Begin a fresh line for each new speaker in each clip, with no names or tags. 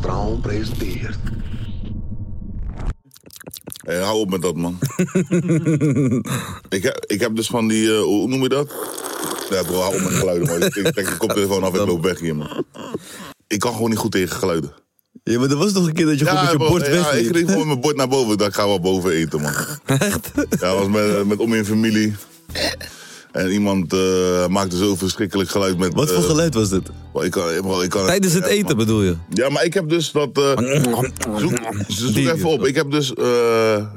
Traum presenteert.
Hey, hou op met dat, man. ik, heb, ik heb dus van die, eh, hoe noem je dat? Ja, bro, hou op met geluiden, man. Ik trek de koptelefoon af en loop weg hier, man. Ik kan gewoon niet goed tegen geluiden.
Ja, maar er was toch een keer dat je gewoon met je
bro,
bord
ja,
weg.
ik ging gewoon mijn bord naar boven. Dat ik ga wel boven eten, man.
Echt?
Ja, was met, met om in familie. En iemand eh, maakte zo verschrikkelijk geluid met...
Wat voor
eh,
geluid was dit?
bro, ik kan, bro, ik kan,
Tijdens het
ja,
eten
man.
bedoel je?
Ja, maar ik heb dus dat... eh, Zoek, zoek
Die-
even op. Ik heb dus eh,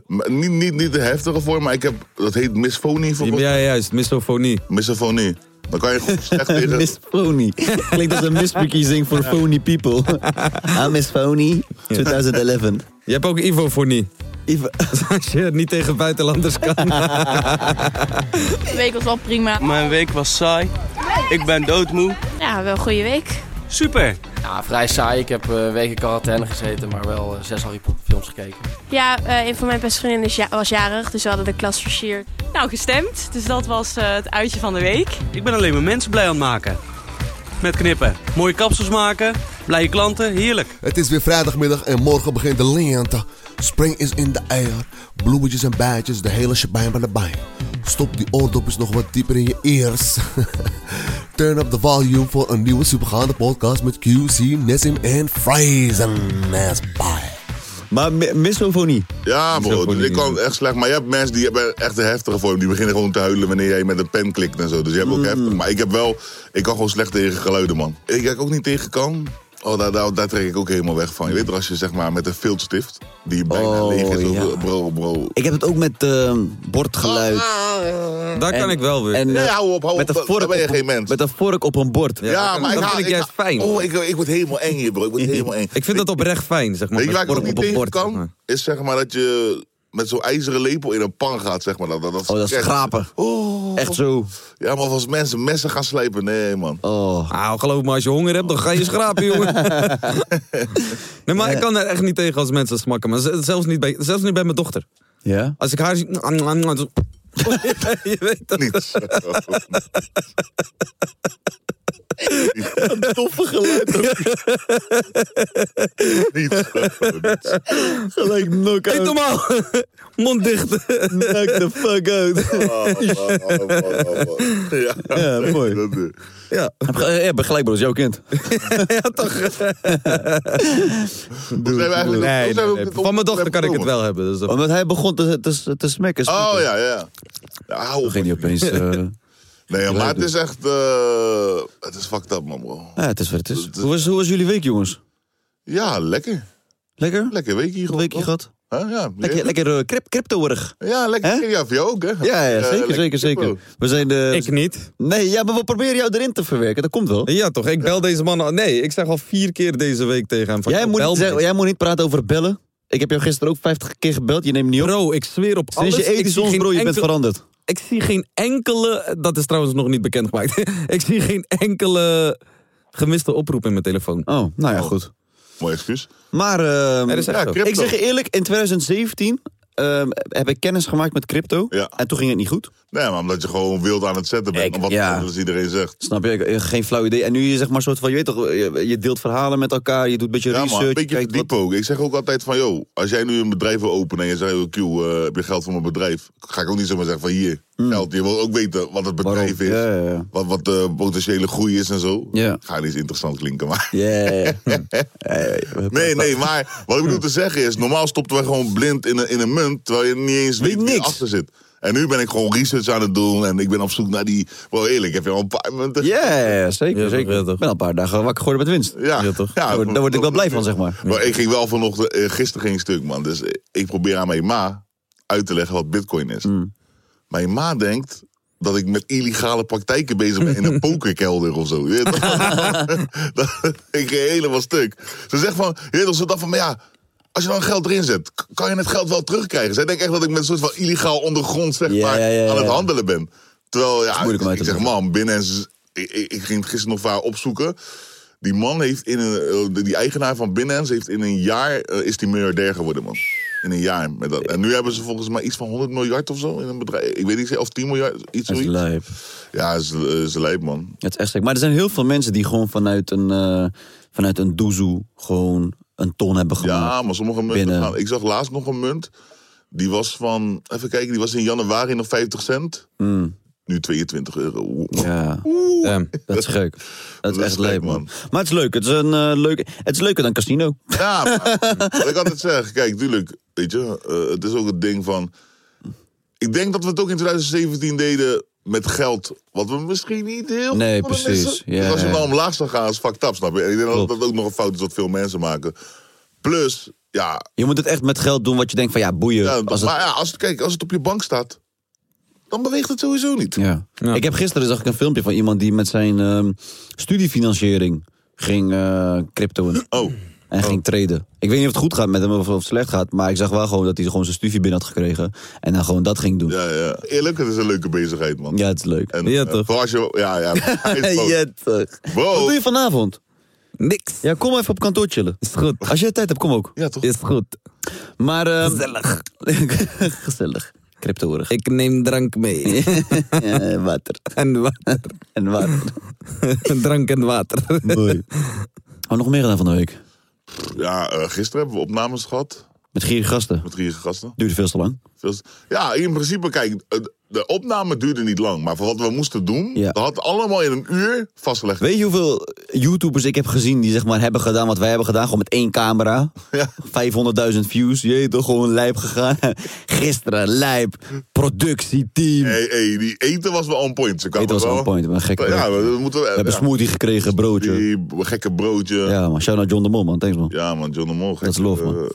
m- niet, niet, niet de heftige vorm, maar ik heb dat heet misfonie voor
Ja, juist, misofonie.
misofonie. Dan kan je gewoon slecht tegen.
Misphony. Klinkt als een misverkiezing voor phony people. I'm Miss Phony 2011.
Je hebt ook ivofonie.
Ivo-
Als je niet tegen buitenlanders kan.
De week was wel prima.
Mijn week was saai. Ik ben doodmoe.
Ja, wel een goede week.
Super.
Ja, vrij saai. Ik heb eh, weken quarantaine gezeten, maar wel eh, zes Harry Potter films gekeken.
Ja, eh, een van mijn beste vriendinnen is ja- was jarig, dus we hadden de klas versierd.
Nou, gestemd. Dus dat was eh, het uitje van de week.
Ik ben alleen mijn mensen blij aan het maken. Met knippen. Mooie kapsels maken. Blije klanten. Heerlijk.
Het is weer vrijdagmiddag en morgen begint de lente. Spring is in de air. Bloemetjes en bijtjes, de hele shebang bij de bij. Stop die oordopjes nog wat dieper in je ears. Turn up the volume voor een nieuwe supergaande podcast met QC, Nessim en Friesen. Nas bye.
Maar mi- misofonie.
Ja, bro,
Misofonie.
dus ik kan echt slecht. Maar je hebt mensen die hebben echt een heftige vorm. Die beginnen gewoon te huilen wanneer jij met een pen klikt en zo. Dus je
Mm.
hebt ook heftig. Maar ik heb wel, ik kan gewoon slecht tegen geluiden, man. Ik kijk ook niet tegen kan. Oh, daar, daar, daar trek ik ook helemaal weg van. Je weet toch, als je zeg maar met een filtstift, die bijna
Oh,
leeg is. of-
ja.
Bro, bro.
Ik heb het ook met ehm, bordgeluid.
Daar kan
En-
ik wel weer.
En,
Nee,
eh,
hou op, hou
met
op.
een vork
Dan ben je
op-
geen mens.
Met een vork op een bord.
Ja, maar
dat-
ik
dat vind
haal-
ik juist
haal-
fijn.
Oh, ik, ik word helemaal eng hier, bro. Ik word helemaal eng.
ik vind dat oprecht fijn, zeg maar.
Weet je
met
waar ik ook
vork
niet
op een
tegen
bord, zeg
kan?
maar.
Is zeg maar dat je met zo'n ijzeren lepel in een pan gaat, zeg maar. Dat, dat,
Oh, dat is schrapen.
Oh.
Echt zo.
Ja, maar als mensen messen gaan slijpen, nee, man.
Oh.
Nou, geloof me, als je honger hebt, dan ga je schrapen, jongen. nee, maar ik kan er echt niet tegen als mensen smakken. Maar z- zelfs niet bij, zelfs niet bij mijn dochter.
Ja?
Als ik haar zie... Je weet dat.
Niets.
Toffe geluid.
Niets.
Gelijk
Niet
knock-out.
normaal. Mond dicht.
Knock the fuck out.
Oh, oh, oh, oh, oh. Ja,
Ja, mooi.
dat, eh,
Ja.
Ja, begrijp dat is jouw kind.
hoe zijn we eigenlijk... hoe
Nee,
zijn we
nee,
op
nee.
dit
Van mijn dochter kan ik het
onderwerp
wel hebben. Dus dat-
Omdat hij begon te, te, te smekken.
gekomen? Oh, ja, ja. ja hou op.
Ging hij opeens... eh,
Nee, maar het is echt... eh, het is fucked up, man, bro.
Ja, het is wat het is. Hoe was, hoe was jullie week, jongens?
Ja, lekker.
Lekker?
Lekker weekje
Een
gewoon.
weekje gehad?
Huh? Ja,
Lekker, lekker eh, crypt- crypto-erig.
Ja, lekker.
Hè?
Ja, voor jou ook, hè?
Ja, ja,
Eh,
zeker,
lekker
zeker,
kippenhoek.
zeker. We zijn de...
Ik niet.
Nee, ja, maar we proberen jou erin te verwerken. Dat komt wel.
Ja, toch? Ik bel deze man al. Nee, ik zeg al vier keer deze week tegen hem. Van,
Jij
joh,
moet,
bel
niet,
me.
zeggen- jij moet niet praten over bellen. Ik heb jou gisteren ook 50 keer gebeld. Je neemt niet op.
Bro, ik zweer op alles.
Sinds je
ik zie
Edison's
geen
bro, je bent
enkel-
veranderd.
Ik zie geen enkele. Dat is trouwens nog niet bekendgemaakt. ik zie geen enkele gemiste oproep in mijn telefoon.
Oh, nou ja, goed.
Mooi excuus.
Maar ehm,
Nee, dat is echt
Ja,
zo.
crypto.
ik zeg je eerlijk, in 2017 ehm, heb ik kennis gemaakt met crypto.
Ja.
En toen ging het niet goed.
Nee, maar omdat je gewoon wild aan het zetten bent.
Ik-
om wat
ja.
anders iedereen zegt.
Snap je? Ik- eh, Geen flauw idee. En nu je zeg maar soort van, je weet toch, je, je deelt verhalen met elkaar. Je doet een beetje
Ja,
research.
maar een
je
beetje
kijkt wat-
verdiep ook. Ik zeg ook altijd van, joh, als jij nu een bedrijf wil openen en je zegt, joh, Q, eh, heb je geld voor mijn bedrijf? Ga ik ook niet zomaar zeggen van, hier, geld. Je wil ook weten wat het bedrijf
Hmm.
is.
Waarom? Ja, ja, ja.
Wat, wat de potentiële groei is en zo.
Ja.
Ga niet interessant klinken, maar...
Yeah.
Nee, nee, maar wat ik bedoel te zeggen is, normaal stopten wij gewoon blind in een, in een munt, terwijl je niet eens weet wie
niks.
achter zit. En nu ben ik gewoon research aan het doen en ik ben op zoek naar die... Wel eerlijk, heb je al een paar munten?
Yeah, zeker.
Ja,
zeker.
ja,
Ik
toch.
ben al een paar dagen wakker geworden met winst.
Ja,
Ja, toch?
Ja,
Daar word- daar word ik wel blij van, zeg maar.
Maar ik ging wel vanochtend, eh, gisteren ging ik stuk, man. Dus eh, ik probeer aan mijn ma uit te leggen wat Bitcoin is.
Mm.
Mijn ma denkt dat ik met illegale praktijken bezig ben in een pokerkelder of zo. Je weet toch? Dat- ik ging helemaal stuk. Ze zegt van, je weet toch, ze dacht van, maar ja. Als je dan geld erin zet, k- kan je het geld wel terugkrijgen. Zij denkt echt dat ik met een soort van illegaal ondergrond zeg
Ja,
maar,
ja, ja,
aan het
ja.
handelen ben. Terwijl, ja,
moeilijk om
ik,
uit
ik
te
zeg,
leggen.
man, binnen... en z- Ik, ik, ik ging het gisteren nog vaak opzoeken. Die man heeft in een, eh, die eigenaar van Binance heeft in een jaar eh, is die miljardair geworden, man. In een jaar. Met dat. En nu hebben ze volgens mij iets van 100 miljard of zo in een bedrijf. Ik weet niet of 10 miljard, iets
Dat is
zoiets.
lijp.
Ja, is, eh, is lijp, man.
Het is echt gek. Maar er zijn heel veel mensen die gewoon vanuit een, eh vanuit een doezoe gewoon een ton hebben gemaakt.
Ja, maar sommige munten
binnen.
gaan. Ik zag laatst nog een munt. Die was van, even kijken, die was in januari nog 50 cent.
Mm.
Nu 22 euro.
Ja.
Ehm.
Damn, dat is gek. Dat is
is
echt
gek,
leuk, man.
man.
Maar het is leuk. Het is, een, eh, leuke, het is leuker dan casino.
Ja, maar, wat ik altijd zeg, kijk, tuurlijk, weet je, eh, het is ook het ding van. Ik denk dat we het ook in 2017 deden met geld, wat we misschien niet heel
Nee,
veel konden
precies.
missen.
Ja,
Dus als je
ja.
nou omlaag zou gaan, is fucked up, snap je? En ik denk dat
Klopt.
dat ook nog een fout is wat veel mensen maken. Plus, ja,
Je moet het echt met geld doen wat je denkt van ja, boeien.
ja,
als het,
maar ja, als het, kijk, als het op je bank staat, dan beweegt het sowieso niet.
ja.
Ja.
Ik heb gisteren zag ik een filmpje van iemand die met zijn ehm, studiefinanciering ging eh crypto
Oh,
en ging traden. Ik weet niet of het goed gaat met hem of of het slecht gaat, maar ik zag wel gewoon dat hij gewoon zijn studie binnen had gekregen en dan gewoon dat ging doen. Ja,
ja, ja. Eerlijk, het is een leuke bezigheid, man.
het is leuk.
En,
Ja,
eh,
toch?
vooral als je, ja, ja.
ja, toch. Wat doe
Wow.
je vanavond?
Niks.
Ja, kom even op kantoor chillen.
Is goed.
Als je tijd hebt, kom ook.
Ja, toch?
Is goed.
Maar ehm,
Gezellig.
gezellig. Cryptoerig.
Ik neem drank mee.
Eh, water.
en water.
En water.
drank en water.
Mooi. Oh, nog meer gedaan van de week.
Ja, eh, gisteren hebben we opnames gehad
Met gierige gasten.
met drie gasten.
Duurde veel te lang.
Veel- Ja, in principe, kijk, eh, de opname duurde niet lang. Maar voor wat we moesten doen,
Ja.
dat had allemaal in een uur vastgelegd.
Weet je hoeveel YouTubers ik heb gezien die zeg maar hebben gedaan wat wij hebben gedaan? Gewoon met één camera.
Ja.
500.000 views. Jee, toch gewoon lijp gegaan. Gisteren lijp. Productieteam.
Hey, hey, die eten was wel on point. Ze kwamen
Eten was
wel-
on point, maar een gekke
Ja,
broodje.
we, we moeten...
We hebben smoothie gekregen, broodje.
Die gekke broodje. Ja,
Ja man, shout out John de Mol man, thanks man.
man, John de Mol.
Dat is love man.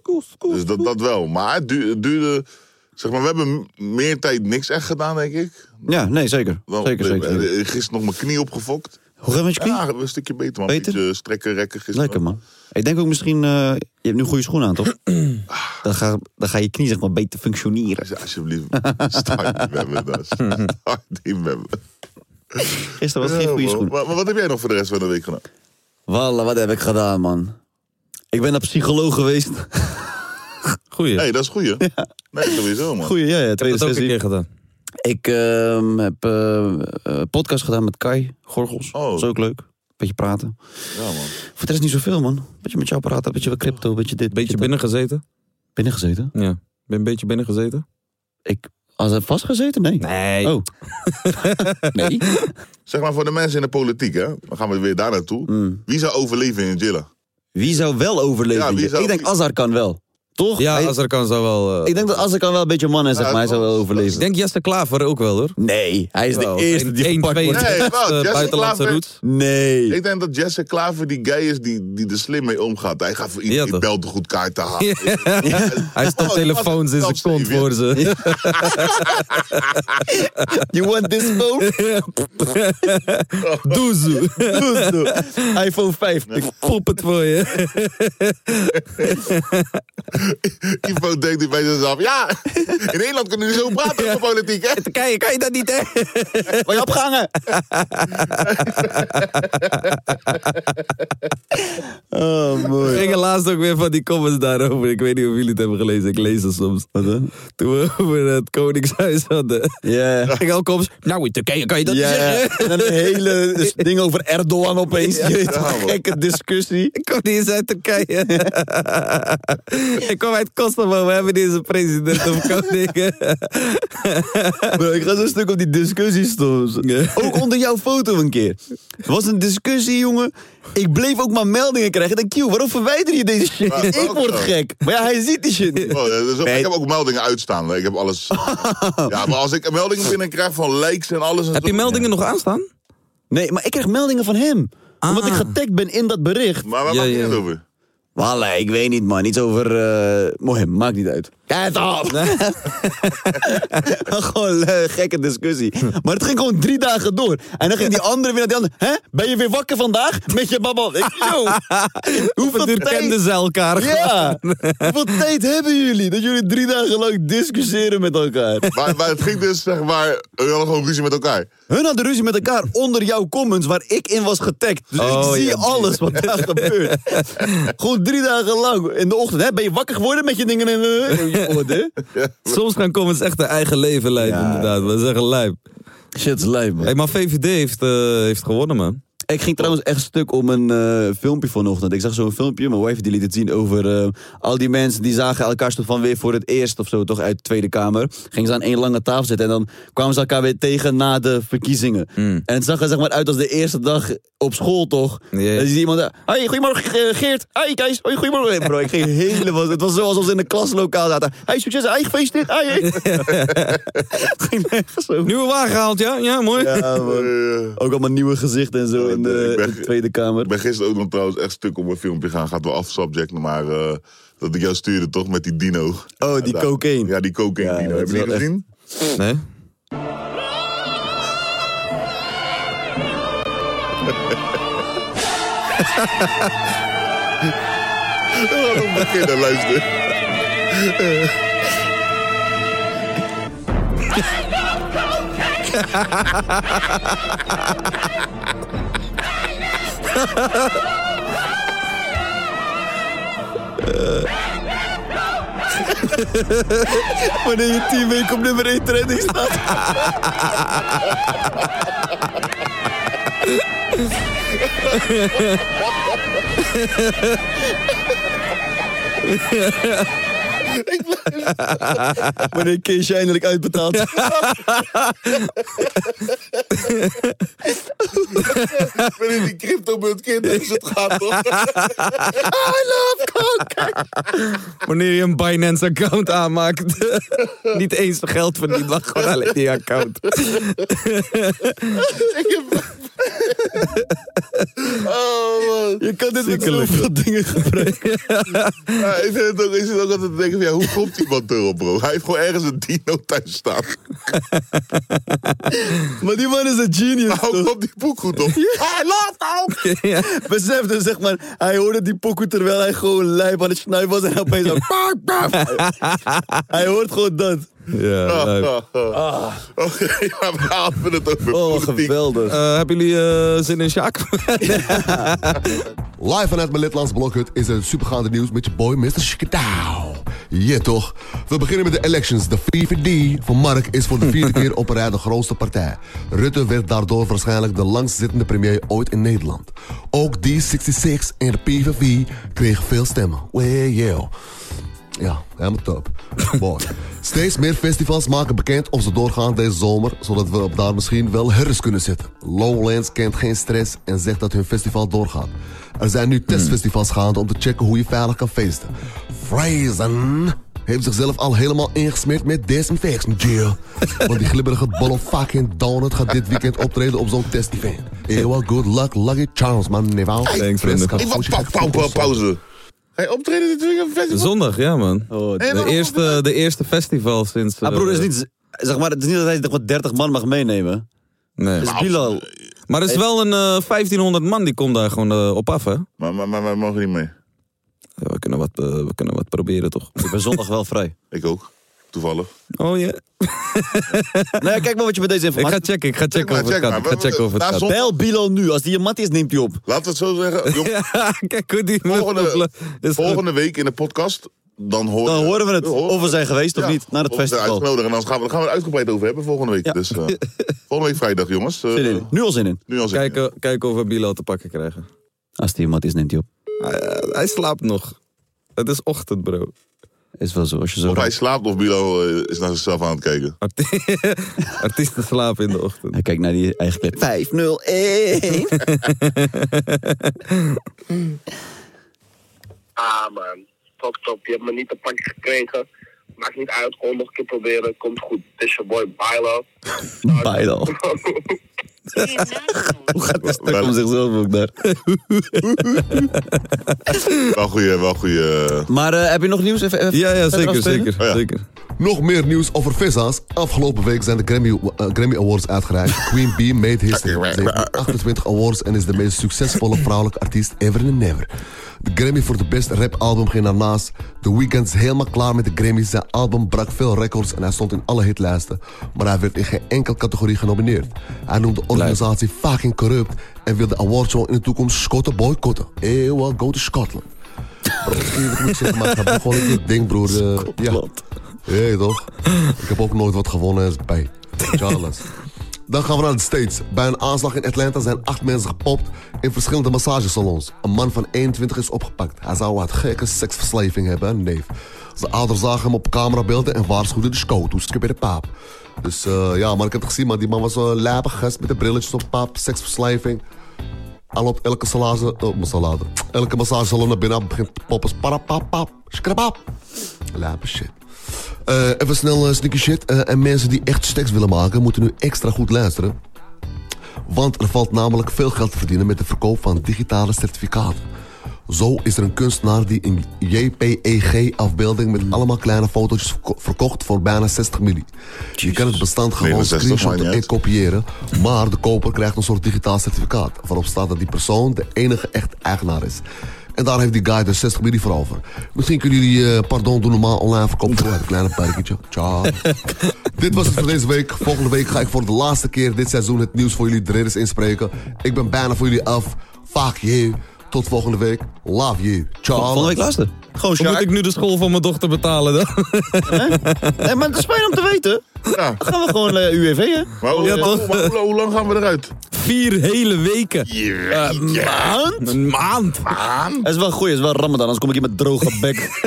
dus dat, dat wel. Maar het du- het duurde... Zeg maar, we hebben m- meer tijd niks echt gedaan, denk ik.
Ja, nee zeker.
Dan-
Zeker, zeker. zeker.
eh, Gisteren nog mijn knie opgefokt.
Hoe gaat het met je knie?
Ja, een stukje beter, man.
Beter?
Een beetje strekken, rekken gisteren.
Lekker man. Ik denk ook misschien, eh, je hebt nu goede schoenen aan toch? Dan ga, dan ga je knie zeg maar beter functioneren.
Als- Alsjeblieft, start niet met me dan. Start niet met me.
Gisteren was geen goede
Ja, man.
schoen.
Maar, maar wat heb jij nog voor de rest van de week gedaan?
Wallah, wat heb ik gedaan, man? Ik ben naar psycholoog geweest.
Goeie.
Hé, hey, dat is goeie. Nee, sowieso, man.
Goeie, ja, ja, tweede
dat ook een
sessie.
keer gedaan.
Ik ehm, heb eh, eh, podcast gedaan met Kai Gorgels.
Oh.
Dat is ook leuk. Beetje praten.
Ja, man.
Voor de rest niet zoveel, man. Beetje met jou praten, beetje wat crypto, beetje dit.
Beetje
dat.
binnen gezeten.
binnengezeten.
Ja. Ben een beetje binnen gezeten?
Ik, als hij vastgezeten? Nee.
Nee.
Oh. nee.
Zeg maar voor de mensen in de politiek, hè. Dan gaan we weer daar naartoe.
Mm.
Wie zou overleven in Jilla?
Wie zou wel overleven?
Ja, wie zou-
Ik denk Azar kan wel. Toch?
Ja,
Hij-
als er kan zou wel. eh,
Ik denk dat Azar kan wel een beetje man is, zeg
Ja,
maar. Hij zou wel
Ik
overleven.
denk Jesse Klaver ook wel hoor.
Nee, hij is
Wel,
de eerste die
1,
gepakt
2,
wordt.
Nee,
echt,
wat?
eh,
Jesse
buitenlandse
Klaver?
roots.
Nee.
Ik denk dat Jesse Klaver die guy is die, die er slim mee omgaat. Hij gaat voor
Ja,
iedereen
toch?
belt een goed kaart te halen.
Hij stopt
Oh, die
telefoons in
was-
zijn kont voor ze.
You want this phone?
Doezoe.
iPhone 5.
Ik pop het voor je.
Ivo denkt hij bij zichzelf, ja, in Nederland kunnen jullie zo praten over politiek, hè.
Kijk, kan je dat niet hè?
Word je opgehangen? oh, mooi.
We gingen laatst ook weer van die comments daarover. Ik weet niet of jullie het hebben gelezen. Ik lees het soms. Toen we over het Koningshuis hadden.
Ja.
Ging al comments. Nou, in Turkije kan je dat niet
Ja,
zeggen.
en een hele s- ding over Erdogan opeens. Je weet toch, gekke discussie.
Ik kom niet eens uit Turkije. ik kom uit Kosovo. We hebben deze president op koning.
Bro, ik ga zo'n stuk op die discussies soms. Ook onder jouw foto een keer. Het was een discussie, jongen. Ik bleef ook maar meldingen krijgen. Ik denk, Q, waarom verwijder je deze shit?
Maar
ik
ook
word
zo.
gek. Maar ja, hij ziet die shit niet.
Oh, ja, dat is ook-
Nee.
Ik heb ook meldingen uitstaan. hè. Ik heb alles. Ja, maar als ik meldingen binnenkrijg van likes en alles. En
Heb
zo,
je meldingen nog aanstaan?
Nee, maar ik krijg meldingen van hem. Omdat
Ah.
ik getagd ben in dat bericht.
Maar waar
Ja,
maakt
ja.
het over?
Walla, ik weet niet, man. Iets over. eh Mohem, maakt niet uit. Kijk op! gewoon eh, gekke discussie. Maar het ging gewoon drie dagen door. En dan ging die andere weer naar die andere. Hè? Ben je weer wakker vandaag? Met je babbel. Ik, yo, hoeveel
Hoeveel duur kenden
tijd.
ze elkaar?
Ja! Hoeveel tijd hebben jullie? Dat jullie drie dagen lang discussiëren met elkaar.
Maar, maar het ging dus, zeg maar, we hadden gewoon ruzie met elkaar.
Hun hadden ruzie met elkaar onder jouw comments waar ik in was getagd. Dus
Oh,
ik zie
ja.
alles wat daar gebeurt. Gewoon drie dagen lang in de ochtend. Hè, ben je wakker geworden met je dingen in je oor, hè?
Soms gaan comments echt hun eigen leven leiden,
Ja.
inderdaad. We zeggen lijp.
Shit, lijp, man.
Hey, maar VVD heeft, eh, heeft gewonnen, man.
Ik ging trouwens echt stuk om een eh, filmpje vanochtend. Ik zag zo'n filmpje, mijn wife die liet het zien over eh, al die mensen die zagen elkaar soort van weer voor het eerst of zo, toch uit de Tweede Kamer. Gingen ze aan één lange tafel zitten en dan kwamen ze elkaar weer tegen na de verkiezingen. En het zag er zeg maar uit als de eerste dag op school, toch?
Ja.
Dan zie je iemand daar, hey, goedemorgen Ge- Geert, hey Kees, hey, goedemorgen. Bro, ik ging helemaal, het was zo alsof ze in een klaslokaal zaten. Hey, succes, hey, gefeliciteerd, hey. hey. Het ging nergens over.
Nieuwe wagen gehaald, ja? Ja, mooi.
Ja, man.
Eh,
Ook allemaal nieuwe gezichten en zo in de,
Ik ben-
in de Tweede Kamer.
Ik ben gisteren ook nog trouwens echt stuk om een filmpje gaan. Gaat wel af subject, maar eh, dat ik jou stuurde toch met die dino.
Oh,
Ja,
die
daar-
cocaine.
Ja, die cocaine
Ja,
dino.
dat
Heb
is
je die
wel echt-
gezien?
Nee?
We gaan op beginnen, luister.
Wanneer je team week op nummer 1 trending staat. Wanneer Kees je eindelijk uitbetaalt.
ben in die crypto-munt kinderen, dus het gaat toch?
Wanneer je een Binance-account aanmaakt. Niet eens geld verdient, maar gewoon alleen die account.
Oh, man.
Je kan dit met
Ziekelijk.
zoveel dingen gebruiken.
Ja, ik zit ook, ik zit ook altijd te denken van, ja, hoe komt iemand erop, bro? Hij heeft gewoon ergens een dino thuis staan.
Maar die man is een genius.
Hou
toch?
op die boek goed op. Hij laat ook!
Ja.
Besef dus, zeg maar, hij hoorde die pokoe terwijl hij gewoon lijp aan het snuiven was. En opeens zo... Bam, bam. Hij hoort gewoon dat. Ah.
Ja, leuk.
Ah. Oké, ja, we hadden het over
Oh,
politiek.
geweldig.
Eh, hebben jullie eh, zin in Sjaak?
Live vanuit mijn Lidlands Blokhut is het supergaande nieuws met je boy Mr. Shikadao. Ja toch. We beginnen met de elections. De VVD van Mark is voor de vierde keer op een rij de grootste partij. Rutte werd daardoor waarschijnlijk de langstzittende premier ooit in Nederland. Ook D66 en de PVV kregen veel stemmen. Well, yeah. Ja, helemaal top. Mooi. Steeds meer festivals maken bekend of ze doorgaan deze zomer, zodat we op daar misschien wel herres kunnen zitten. Lowlands kent geen stress en zegt dat hun festival doorgaat. Er zijn nu testfestivals gaande om te checken hoe je veilig kan feesten. Frazen heeft zichzelf al helemaal ingesmeerd met desinfectant gel. Want die glibberige bolle fucking donut gaat dit weekend optreden op zo'n test-event. Ewa, good luck, lucky charms, man. Neval.
Thanks, vrienden.
Ik wou pau, pau, pau, pauze. Ga je optreden dit weekend op het festival?
Zondag, ja man. de,
Oh,
waarom-
eerste, de eerste festival sinds... eh,
Maar Ah, broer, het is niet, zeg maar, het is niet dat hij toch wat 30 man mag meenemen.
Nee.
Het is
Nou,
Bilal.
Maar er is wel een eh, 1500 man die komt daar gewoon eh, op af, hè? Ja,
Maar, maar, maar wij mogen niet mee.
we, kunnen wat, eh, we kunnen wat proberen, toch?
Ik ben zondag wel vrij.
Ik ook. Toevallig.
Oh ja.
Nou ja, kijk maar wat je met deze
Ik ga
informatie...
checken, ik ga checken
maar,
of het
check
kan.
maar.
Ik ga checken of het
Na
kan.
zondag-
Bel Bilal nu. Als die een mat is, neemt hij op.
Laten we het zo zeggen. Jong,
Ja, kijk hoe die...
volgende,
is goed.
volgende week in de podcast, dan, hoor,
Dan horen we het. Of we zijn geweest of
Ja,
niet. Naar het
of we zijn
festival.
uitgenodigd. En dan gaan we, dan gaan we het uitgebreid over hebben volgende week. Dus, eh, volgende week vrijdag, jongens. Eh,
Zin in. Nu al zin in.
nu al zin in.
Kijken, kijken of we Bilo te pakken krijgen.
Als die een mat is, neemt hij op.
Hij, eh, hij slaapt nog. Het is ochtend, bro.
Is wel zo. Als je zo...
Of hij slaapt of Bilo eh, is naar zichzelf aan het kijken.
Arti- Artiesten slapen in de ochtend.
Hij kijkt naar die eigen clip. 501.
Ah man, top top. Je hebt me niet een pakje gekregen. Maakt niet uit, gewoon nog een keer proberen. Komt goed. Het is je boy Bilo.
Bilal. Hoe gaat het stuk om zichzelf ook daar?
Wel goeie, wel goeie. eh,
Maar eh, heb je nog nieuws? Even, even
Ja, ja,
verder
zeker,
afspelen?
zeker,
Oh ja.
zeker.
Nog meer nieuws over vissers. Afgelopen week zijn de Grammy, eh, Grammy Awards uitgereikt. Queen Bee made history. Ze heeft 28 awards en is de meest succesvolle vrouwelijke artiest ever and never. De Grammy voor de best rapalbum ging ernaast. The Weeknd is helemaal klaar met de Grammy. Zijn album brak veel records en hij stond in alle hitlijsten. Maar hij werd in geen enkele categorie genomineerd. Hij noemde de organisatie fucking corrupt en wil de awardshow in de toekomst Schotten boycotten. Ewa, go to Scotland. Bro, eerlijk moet ik zeggen, maar ik heb gewoon niet dit ding, broer. eh, ja.
Klopt.
Ja, toch? Ik heb ook nooit wat gewonnen bij Charles. Dan gaan we naar de States. Bij een aanslag in Atlanta zijn acht mensen gepopt in verschillende massagesalons. Een man van 21 is opgepakt. Hij zou wat gekke seksverslaving hebben, een neef. Zijn ouders zagen hem op camerabeelden en waarschuwden "Dus de scout. Hoe skip je de paap? Dus eh, ja, maar ik heb het gezien, maar die man was een lijpig gast met de brilletjes op paap, seksverslaving. Hij loopt elke salade, oh, salade. Elke massagesalon naar binnen, begint te poppen. Parapapap, skrapap. Lijpe shit. Eh, even snel eh, sneaky shit. Eh, en mensen die echt stacks willen maken, moeten nu extra goed luisteren. Want er valt namelijk veel geld te verdienen met de verkoop van digitale certificaten. Zo is er een kunstenaar die een JPEG-afbeelding met allemaal kleine fotootjes verko- verkocht voor bijna 60 milli. Je kan het bestand gewoon
69,
screenshotten
maakt
en
niet
kopiëren, maar de koper krijgt een soort digitaal certificaat waarop staat dat die persoon de enige echt eigenaar is. En daar heeft die guy dus 60 milli voor over. Misschien kunnen jullie, eh, pardon, doen normaal online verkopen voor een kleine parkietje. Ciao. Dit was het voor deze week. Volgende week ga ik voor de laatste keer dit seizoen het nieuws voor jullie dredders inspreken. Ik ben bijna voor jullie af. Fuck you. Tot volgende week. Love you.
Volgende
Ciao.
week luister. Gewoon
Moet ik nu de school van mijn dochter betalen dan?
Nee, maar het is fijn om te weten.
Ja.
Dan gaan we gewoon eh, UWV, hè?
Maar hoe,
Ja, toch?
maar hoe- hoe lang gaan we eruit?
Vier hele weken. Eh,
Maand?
Een maand.
Dat is wel goed, dat is wel ramadan, anders kom ik hier met droge bek.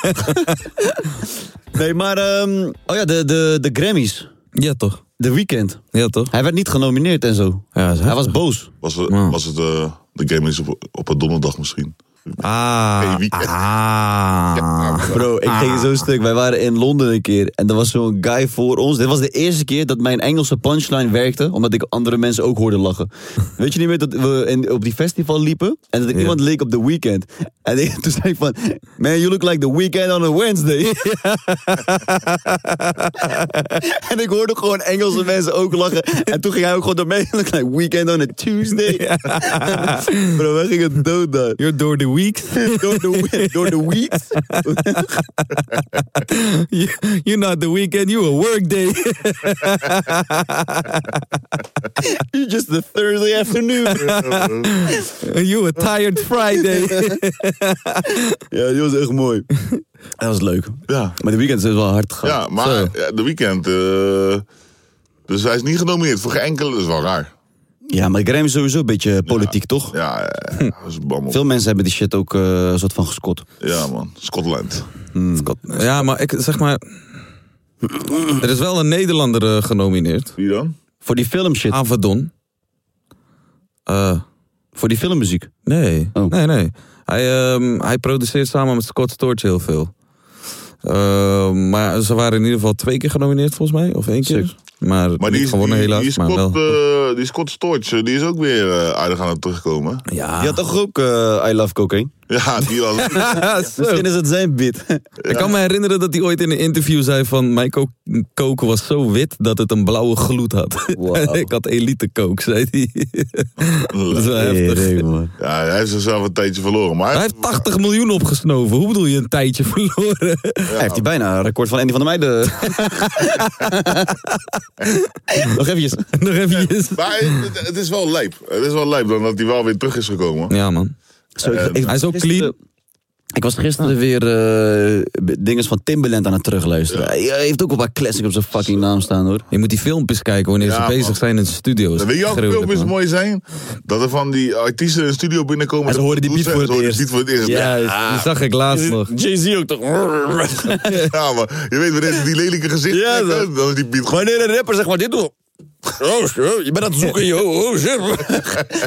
nee, maar... ehm, oh ja, de, de, de Grammys.
Ja toch?
De Weekend.
Ja toch?
Hij werd niet genomineerd en zo.
Ja, dat is
Hij was
heftig.
boos.
Was, het- was het eh, de Game is op, op een donderdag misschien?
Ah.
Geen weekend.
ah.
Bro, ik ging zo stuk. Wij waren in Londen een keer en er was zo'n guy voor ons. Dit was de eerste keer dat mijn Engelse punchline werkte, omdat ik andere mensen ook hoorde lachen. Weet je niet meer dat we in- op die festival liepen en dat ik iemand leek op The Weeknd. En ik, toen zei ik van, man, you look like The Weeknd on a Wednesday. en ik hoorde gewoon Engelse mensen ook lachen. En toen ging hij ook gewoon door mee. Look like Weekend on a Tuesday. Bro, wij gingen dood daar.
You're door the week.
Door de, door de weeks.
You're not the weekend, you're a workday.
You're just the Thursday afternoon.
You're a tired Friday.
ja, die was echt mooi. Dat was leuk.
Ja.
Maar de weekend is wel hard gegaan.
Oh,
Ja, maar ja, de weekend. eh, dus hij is niet genomineerd voor geen enkele. Dat is wel raar.
Ja, maar Graham is sowieso een beetje politiek, toch?
Ja, ja,
Hm.
ja, dat is bammel.
Veel mensen hebben die shit ook eh, een soort van geskot.
Ja, man. Scotland.
Hmm.
Ja, maar ik zeg maar. Er is wel een Nederlander eh, genomineerd.
Wie dan?
Voor die filmshit.
Ah. Avadon. Eh,
Voor die filmmuziek.
nee.
Oh.
Nee, nee. Hij, ehm, hij produceert samen met Scott Storch heel veel. Eh, maar ze waren in ieder geval twee keer genomineerd volgens mij. Of één keer.
Sick.
Maar,
Maar die
niet
is,
gewonnen
die,
helaas.
die is
maar wel.
Scott, eh, die Scott Storch, eh, die is ook weer eh, aardig aan het terugkomen.
ja.
Je had toch ook eh, I Love Cocaine?
Ja, die was...
Zo.
Misschien is het zijn bit.
eh,
Ik kan me herinneren dat hij ooit in een interview zei van... mijn ko- koken was zo wit dat het een blauwe gloed had.
Wow.
En ik had elite kook, zei hij. dat is wel heftig.
Heftig. man.
ja, hij heeft zichzelf een tijdje verloren. Maar
Hij heeft 80 miljoen opgesnoven. Hoe bedoel je een tijdje verloren?
Hij heeft die bijna een record van Andy van der Meijden. Nog eventjes.
Nog eventjes.
Maar het, het is wel lijp. Het is wel lijp dan dat hij wel weer terug is gekomen.
Ja, man.
Zo, ik- ik-
Hij is ook clean.
Ik was gisteren weer eh dingen van Timbaland aan het terugluisteren. Hij heeft ook een paar classics op zijn fucking naam staan hoor.
Je moet die filmpjes kijken wanneer
Ja,
ze bezig
man.
zijn in de studio's.
Dan weet je ook
Gruwelijk,
filmpjes
man.
mooi zijn? Dat er van die artiesten in de studio binnenkomen.
En ze
dat
horen die
doen
beat
ze-
voor
ze
het
horen die beat voor het eerst.
Ja, die zag ik laatst nog.
Jay-Z ook toch?
Ja, maar je weet wanneer ze die lelijke gezichten
Ja,
trekken, dan is die beat gewoon...
Wanneer een rapper zeg maar dit doet. Oh, je bent aan het zoeken, joh. Oh, shit.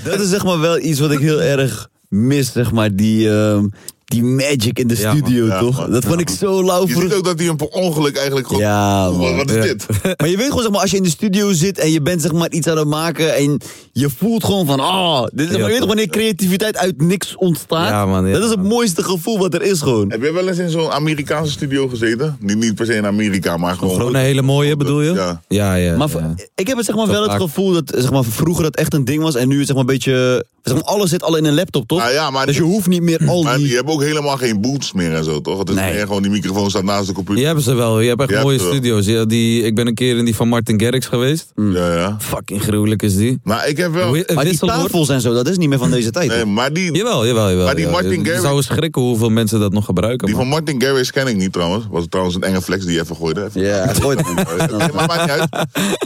Dat is zeg maar wel iets wat ik heel erg mis, zeg maar. Die, ehm, die magic in de
Ja, man.
studio,
Ja,
toch?
man.
dat vond ik zo
Je ziet
lauw.
ook dat hij hem per ongeluk eigenlijk gewoon...
Ja,
Wat,
man.
wat is
Ja.
dit?
Maar je weet gewoon, zeg maar, als je in de studio zit en je bent zeg maar, iets aan het maken en je voelt gewoon van, ah, dit is,
Ja,
maar je weet toch wanneer creativiteit uit niks ontstaat?
Ja, man, ja,
dat is het
man.
mooiste gevoel wat er is gewoon.
Heb jij wel eens in zo'n Amerikaanse studio gezeten? Niet, niet per se in Amerika, maar gewoon...
Gewoon een hele mooie, bedoel je?
Ja.
ja. ja,
Maar
ja.
v- ik heb het, zeg maar, wel het
vaak.
gevoel dat zeg maar, vroeger dat echt een ding was en nu het zeg maar, een beetje, zeg maar, alles zit al in een laptop, toch?
Ah, ja, maar
dus je
dit-
hoeft niet meer al
Maar
die...
je hebt ook ook helemaal geen boots meer en zo, toch? Het is
Nee.
meer gewoon die microfoon staat naast de computer.
Je hebt ze wel. Je hebt echt
Je hebt
mooie
ze wel.
studio's. Ja, die, ik ben een keer in die van Martin Garrix geweest.
Ja, ja.
Fucking gruwelijk is die.
Maar ik heb wel...
Wi-
Mm. Maar die
wisselwoord-
tafels en zo, dat is niet meer van deze tijd.
Nee,
toch?
maar die,
Jawel, jawel, jawel.
Maar die
ja.
Martin
Je
Garrix-
zou schrikken hoeveel mensen dat nog gebruiken.
die
man.
van Martin Garrix ken ik niet trouwens. Was trouwens een enge flex die je even gooide. Even-
Ja, ooit.
Nee, maar maakt niet uit.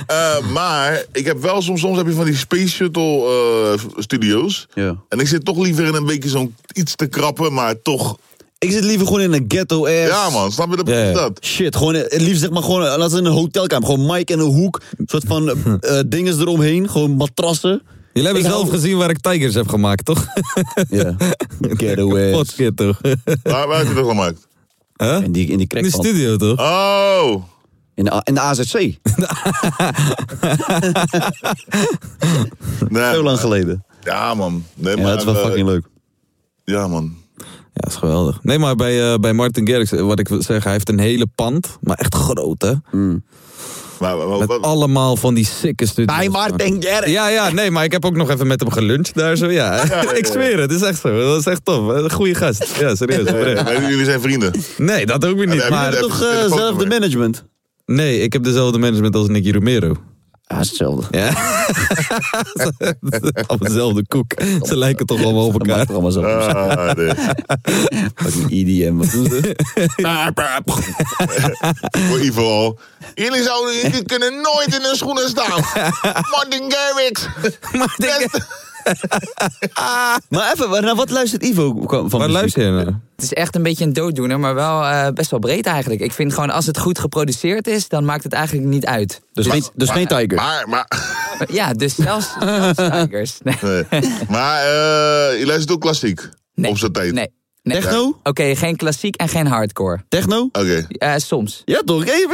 Eh, maar ik heb wel soms, soms heb je van die Space Shuttle eh, studio's.
Ja.
En ik zit toch liever in een beetje zo'n iets te krappen, maar toch.
Ik zit liever gewoon in een ghetto ass.
Ja, man, snap je dat?
Ja, ja.
dat?
Shit, gewoon, eh, het liefst zeg maar gewoon, eh, laten we in een hotelkamer, gewoon mic en een hoek, een soort van eh, eh, dinges eromheen, gewoon matrassen.
Jullie hebben
Ik
zelf
hou-
gezien waar ik Tigers heb gemaakt, toch?
Ja, ghetto
Wat
ass.
shit, toch?
Waar, waar heb je dat gemaakt?
Huh?
In die, in die
In de
crackpan.
studio, toch?
Oh!
In de, A- in de AZC,
Nee,
zo lang geleden.
Ja, man. Nee,
Ja,
maar,
dat is wel
eh,
fucking leuk.
Ja, man.
Ja, is geweldig. Nee, maar bij, eh, bij Martin Garrix, eh, wat ik wil zeggen, hij heeft een hele pand, maar echt groot, hè?
Maar, maar-
Met
wat-
allemaal van die sikke studio's.
Gerrit.
Ja, ja, nee, maar ik heb ook nog even met hem geluncht daar zo, ja. ik zweer het, het is echt zo. Dat is echt tof. Een goede gast. Ja, serieus. oprecht.
Nee, jullie zijn vrienden.
Nee, dat ook weer
Heb
niet.
je
Maar,
dat-
Toch eh, zelf de management.
nee, ik heb dezelfde management als Nicky Romero.
Ja, is hetzelfde.
Ja. Ze- ze- op dezelfde koek. Ze lijken toch allemaal op
Dat
elkaar.
maakt er allemaal zo.
Ah, nee.
Fucking EDM, wat doen ze?
Voor Ivo al. Jullie, zouden, jullie kunnen nooit in hun schoenen staan. Martin Garrix.
Maar even, naar wat luistert Ivo kwa- van
Waar
muziek?
luister je naar?
Het is echt een beetje een dooddoener, maar wel eh, best wel breed eigenlijk. Ik vind gewoon als het goed geproduceerd is, dan maakt het eigenlijk niet uit.
Dus geen, dus geen Tiger.
Maar, maar...
Ja, dus zelfs, zelfs Tigers. Nee.
Nee. Maar eh, je luistert ook klassiek.
Nee.
Op zijn tijd.
Nee. nee.
Techno?
Oké, geen klassiek en geen hardcore.
Techno?
Oké.
Eh, soms.
Ja toch? Hey,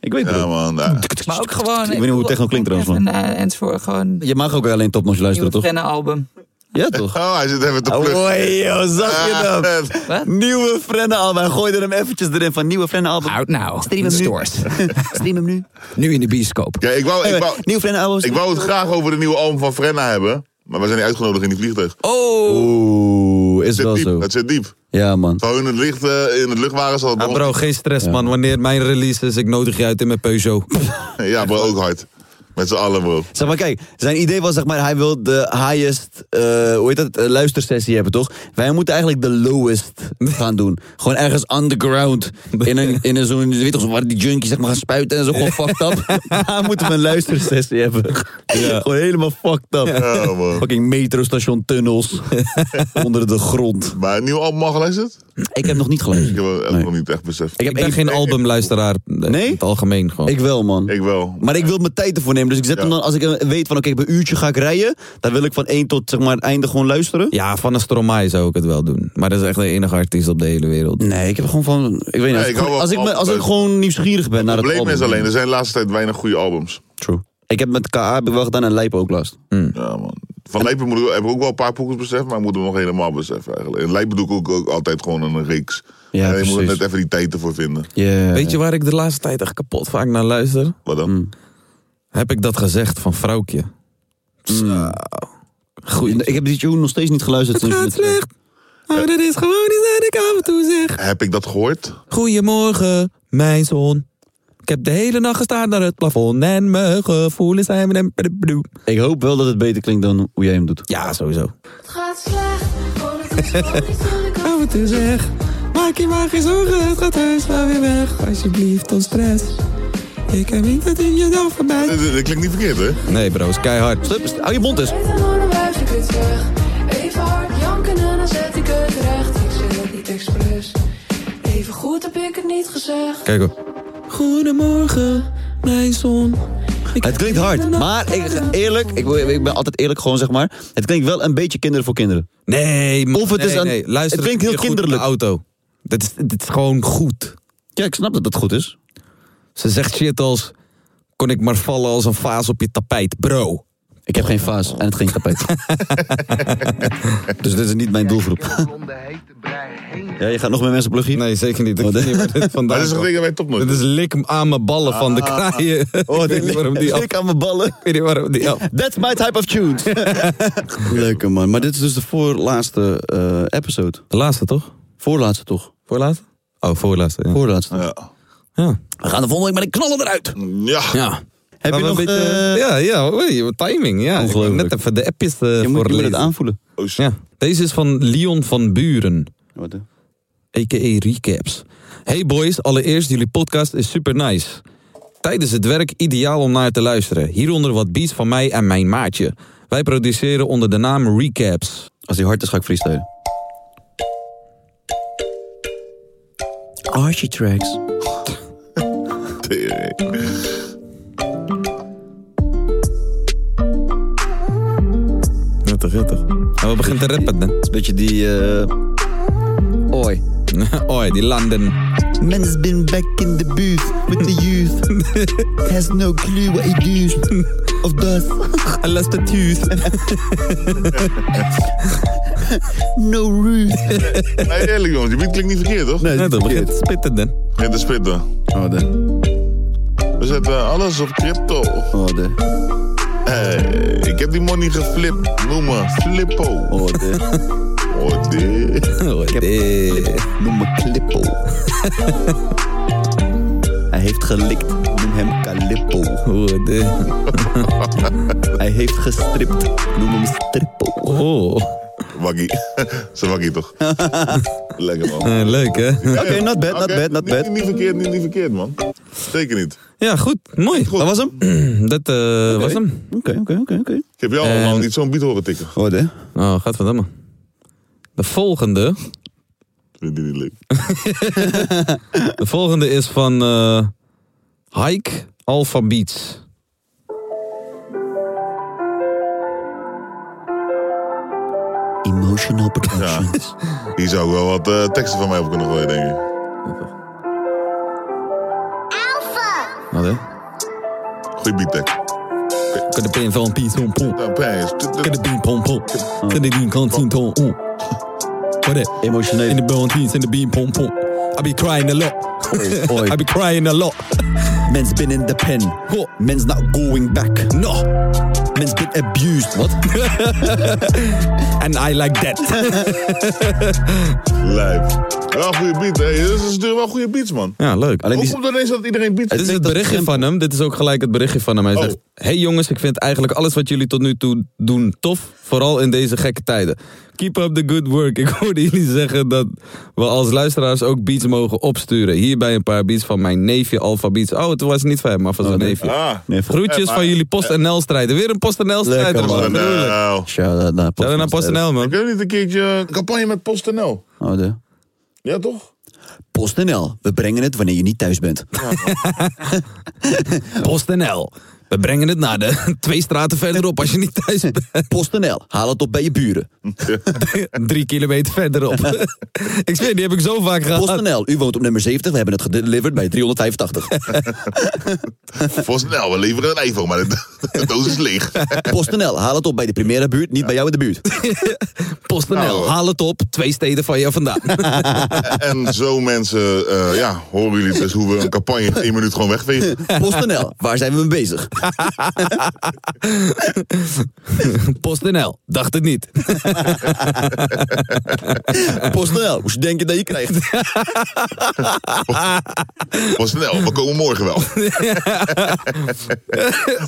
Ik weet het
Ja,
wel.
man. ja.
Maar ook gewoon... Ik
weet niet hoe techno klinkt trouwens,
En, eh, enzovoort, gewoon...
Je mag ook alleen topnotch
Nieuw
luisteren, toch?
trennenalbum.
Ja toch?
Oh, hij zit even te plukken.
Hoi, joh, zag je dat?
Wat?
Nieuwe frenenalbum. Hij gooide hem eventjes erin van nieuwe frenenalbum.
Ah.
Houd nou.
Stream hem nu.
Stores.
Stream hem nu.
nu in de bioscoop.
Ja, ik wou, ik, wou,
Nieuw frenenalbum.
ik wou het graag over de nieuwe album van Frenna hebben. Maar we zijn niet uitgenodigd in die vliegtuig. Het
Oh!
Oeh, is
zit
wel
diep.
zo.
Het zit diep.
Ja man.
Zou in het, licht, eh, in het lucht waren, zal het
Ah,
nog-
bro, geen stress, man. Wanneer mijn release is, ik nodig je uit in mijn Peugeot.
Ja, bro, ook hard. Met z'n allen, bro.
Zeg maar, kijk, zijn idee was zeg maar, hij wil de highest, eh, hoe heet dat, eh, luistersessie hebben, toch? Wij moeten eigenlijk de lowest gaan doen. Gewoon ergens underground, in een, in een zo'n, je weet toch, waar die junkies zeg maar gaan spuiten en zo, gewoon fucked up. Daar moeten we een luistersessie hebben. Gewoon helemaal fucked up.
Ja, man.
Fucking metrostation tunnels, onder de grond.
Maar een nieuw album al geluisterd?
Ik heb nog niet
Ik
geluisterd.
heb het echt
Nee.
nog niet echt beseft.
Ik
Ik
heb
ben
één-
geen albumluisteraar.
Nee?
In het algemeen gewoon.
Ik wel, man.
Ik wel.
Maar ik wil mijn tijd ervoor nemen. Dus ik zet
Ja.
hem dan, als ik eh, weet van oké, ik heb een uurtje ga ik rijden. Dan wil ik van 1 tot zeg maar, het einde gewoon luisteren.
Ja, van een Stromae zou ik het wel doen. Maar dat is echt de enige artiest op de hele wereld.
Nee, ik heb gewoon van. Ik weet niet. als
ik
ik,
hou wel
als ik,
van
me- als ik
albums.
gewoon nieuwsgierig ben naar
Het
het
probleem
album.
is alleen, er zijn de laatste tijd weinig goede albums.
True. Ik heb met KA heb ik wel gedaan en Lijpen ook last.
Ja, man. Van Lijpen moet ik, heb ik ook wel een paar poekers beseft, maar ik moet hem nog helemaal beseffen eigenlijk. In Lijpen doe ik ook, ook altijd gewoon een reeks.
Ja,
Ja, je moet er
precies.
net even die tijd ervoor vinden.
Weet je waar ik de laatste tijd echt kapot vaak naar luister?
Wat dan?
Mm.
Heb ik dat gezegd van vrouwtje?
Goed. Ik heb die tune nog steeds niet geluisterd. dus sinds
Gaat
met-
slecht. Maar dat is gewoon iets dat ik af en toe zeg.
Heb ik dat gehoord?
Goedemorgen, mijn zon. Ik heb de hele nacht gestaan naar het plafond en mijn gevoelens zijn met hem.
Ik hoop wel dat het beter klinkt dan hoe jij hem doet.
Ja, sowieso.
Het gaat slecht, oh, het is gewoon iets wat ik
Af en toe zeg, maak je maar geen zorgen, het gaat heus wel weer weg. Alsjeblieft, tot stress. Ik heb niet dat in je dag voorbij.
Dat, dat- dat klinkt niet verkeerd, hè?
Nee bro, is keihard.
Stop, st- hou je mond eens.
Beter dan een wijf, ik het weg. Even hard janken en dan zet ik het recht. Ik zeg het niet expres. Even goed heb ik het niet gezegd.
Kijk hoor. Goedemorgen, mijn zon. Ik
Het klinkt hard, maar ik, eerlijk, ik, wil- ik ben altijd eerlijk gewoon zeg maar. Het klinkt wel een beetje kinderen voor kinderen.
Nee, man.
Of het
nee,
is een-
nee. Luister,
het klinkt heel
een keer goed
kinderlijk.
in de auto. Dit is, dit is gewoon goed.
Ja, ik snap dat dat goed is.
Ze zegt shit als... Kon ik maar vallen als een vaas op je tapijt, bro.
Ik heb geen vaas en het geen tapijt. dus dit is niet mijn doelgroep. Ja, je gaat nog meer mensen pluggen?
Nee, zeker niet. Ik
Oh,
weet niet waar dit
Maar
vandaan
dat is een
komt.
ding dat wij top
Dit is lik aan mijn ballen van de kraaien. Oh, ik weet niet waarom die af... Ik
Ik aan mijn ballen.
weet niet waarom die af...
That's my type of tunes. Leuke man. Maar dit is dus de voorlaatste eh, episode.
De laatste, toch?
Voorlaatste toch?
Voorlaatste? Oh, voorlaatste. Ja.
Voorlaatste.
Ja.
Ja.
We gaan de volgende week met een knallen eruit.
Ja.
ja.
Heb je nog... eh,
Ja, ja, oei, timing. Ja. Ik wou net even de appjes eh
je moet je moet het
voorlezen.
aanvoelen.
Oh, shit.
ja. Deze is van Leon van Buren.
Wat, hè?
a.k.a. Recaps. Hey boys, allereerst jullie podcast is super nice. Tijdens het werk ideaal om naar te luisteren. Hieronder wat beats van mij en mijn maatje. Wij produceren onder de naam Recaps.
Als hij hard is, ga ik freestylen. Archie Tracks.
Tering.
Nuttig, nuttig. En we beginnen te rappen dan.
Beetje die... eh Oi.
Oi, die landen.
Man's been back in the booth with the youth. Has no clue what he does. Of does.
I lost the tooth.
No roof.
Nee, eerlijk jongens, je beat klinkt niet verkeerd, toch?
Nee,
Ja, dat begint te spitten dan.
Geen te spitten.
Oh, de.
We zetten alles op crypto.
Oh, de.
Hey, ik heb die money geflipt. Noem me Flippo.
Oh, de.
Oh, dit.
Oh, dit.
Noem me Clippo. Hij heeft gelikt. Noem hem Calippo.
Oh, dit.
Hij heeft gestript. Noem hem Strippo.
Oh.
Waggie. Ze waggie toch? Lekker man.
Eh, leuk hè?
Oké, not bad, not
Oké,
bad, not
niet-
bad.
Niet, verkeerd, niet, niet verkeerd man. Zeker niet.
Ja, goed. Mooi.
Dat was hem?
Dat eh, was hem.
Oké, oké, oké, oké.
Ik heb jou
En-
allemaal niet zo'n beat horen tikken.
Goed, hè?
Oh, gaat van hem. De volgende.
Vind je niet leuk?
De volgende is van eh Hike Alpha Beats.
Emotional Productions.
Hier zou ik wel wat eh, teksten van mij op kunnen gooien, denk ik.
Wat hè?
Goeie beat tag.
Kunnen pin van pin pom pom.
Nou, pijs. Tut, tut.
Kunnen pin pom pom. Kunnen die kan zien ton on. Wat hè? In
Emotioneel.
de bone teens in de beam pom pom. I be crying a lot.
Oi.
I be crying a lot.
Mens been in the pen.
Ho.
Mens not going back.
No.
Mens been abused. Wat?
And I like that.
Lijf. Wel een goede beat, hè. Ze sturen wel goede beats, man.
Ja, leuk.
Alleen
Hoe
die...
komt het ineens dat iedereen beats
Dit is het berichtje van hem. Dit is ook gelijk het berichtje van hem. Hij
Oh.
zegt: Hey jongens, ik vind eigenlijk alles wat jullie tot nu toe doen tof. Vooral in deze gekke tijden. Keep up the good work. Ik hoorde jullie zeggen dat we als luisteraars ook beats mogen opsturen. Hierbij een paar beats van mijn neefje Alpha Beats. Oh, het was niet van hem, maar van zijn
nee.
neefje.
Ah.
Nee, voor...
Groetjes
Eh, maar-
van jullie PostNL-strijden. Weer een
Lekker,
PostNL-strijder,
man.
man. Gruwelijk.
Nou.
Shout-out naar
Shout-out naar PostNL,
Ik
man.
heb niet een keertje een campagne met PostNL.
Oh, de...
Ja, toch?
PostNL, we brengen het wanneer je niet thuis bent.
PostNL. We brengen het naar de twee straten verderop als je niet thuis bent.
PostNL, haal het op bij je buren.
Drie kilometer verderop. ik zweer, die heb ik zo vaak gehad.
PostNL, u woont op nummer 70, we hebben het gedeliverd bij 385.
PostNL, we leveren een iPhone, maar de, de doos is leeg.
PostNL, haal het op bij de primaire buurt, niet bij jou in de buurt.
PostNL,
Nou,
haal het op. Twee steden van je vandaan.
En zo mensen, eh, ja, horen jullie dus hoe we een campagne in één minuut gewoon wegvegen.
PostNL, waar zijn we mee bezig?
PostNL, dacht het niet.
PostNL, moest je denken dat je krijgt.
PostNL, we komen morgen wel.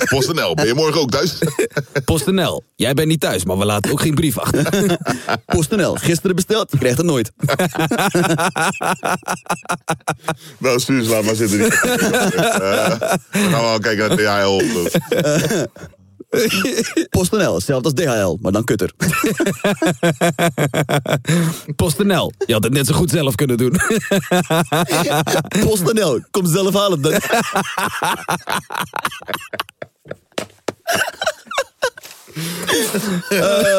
PostNL, ben je morgen ook thuis?
PostNL, jij bent niet thuis, maar we laten ook geen brief achter.
PostNL, gisteren besteld, je krijgt het nooit.
Nou, stuur ze laat maar zitten. Die... Eh, dan gaan we wel kijken naar DHL. of-
PostNL, hetzelfde als DHL, maar dan kutter.
PostNL, je had het net zo goed zelf kunnen doen.
PostNL, kom zelf halen. Dan.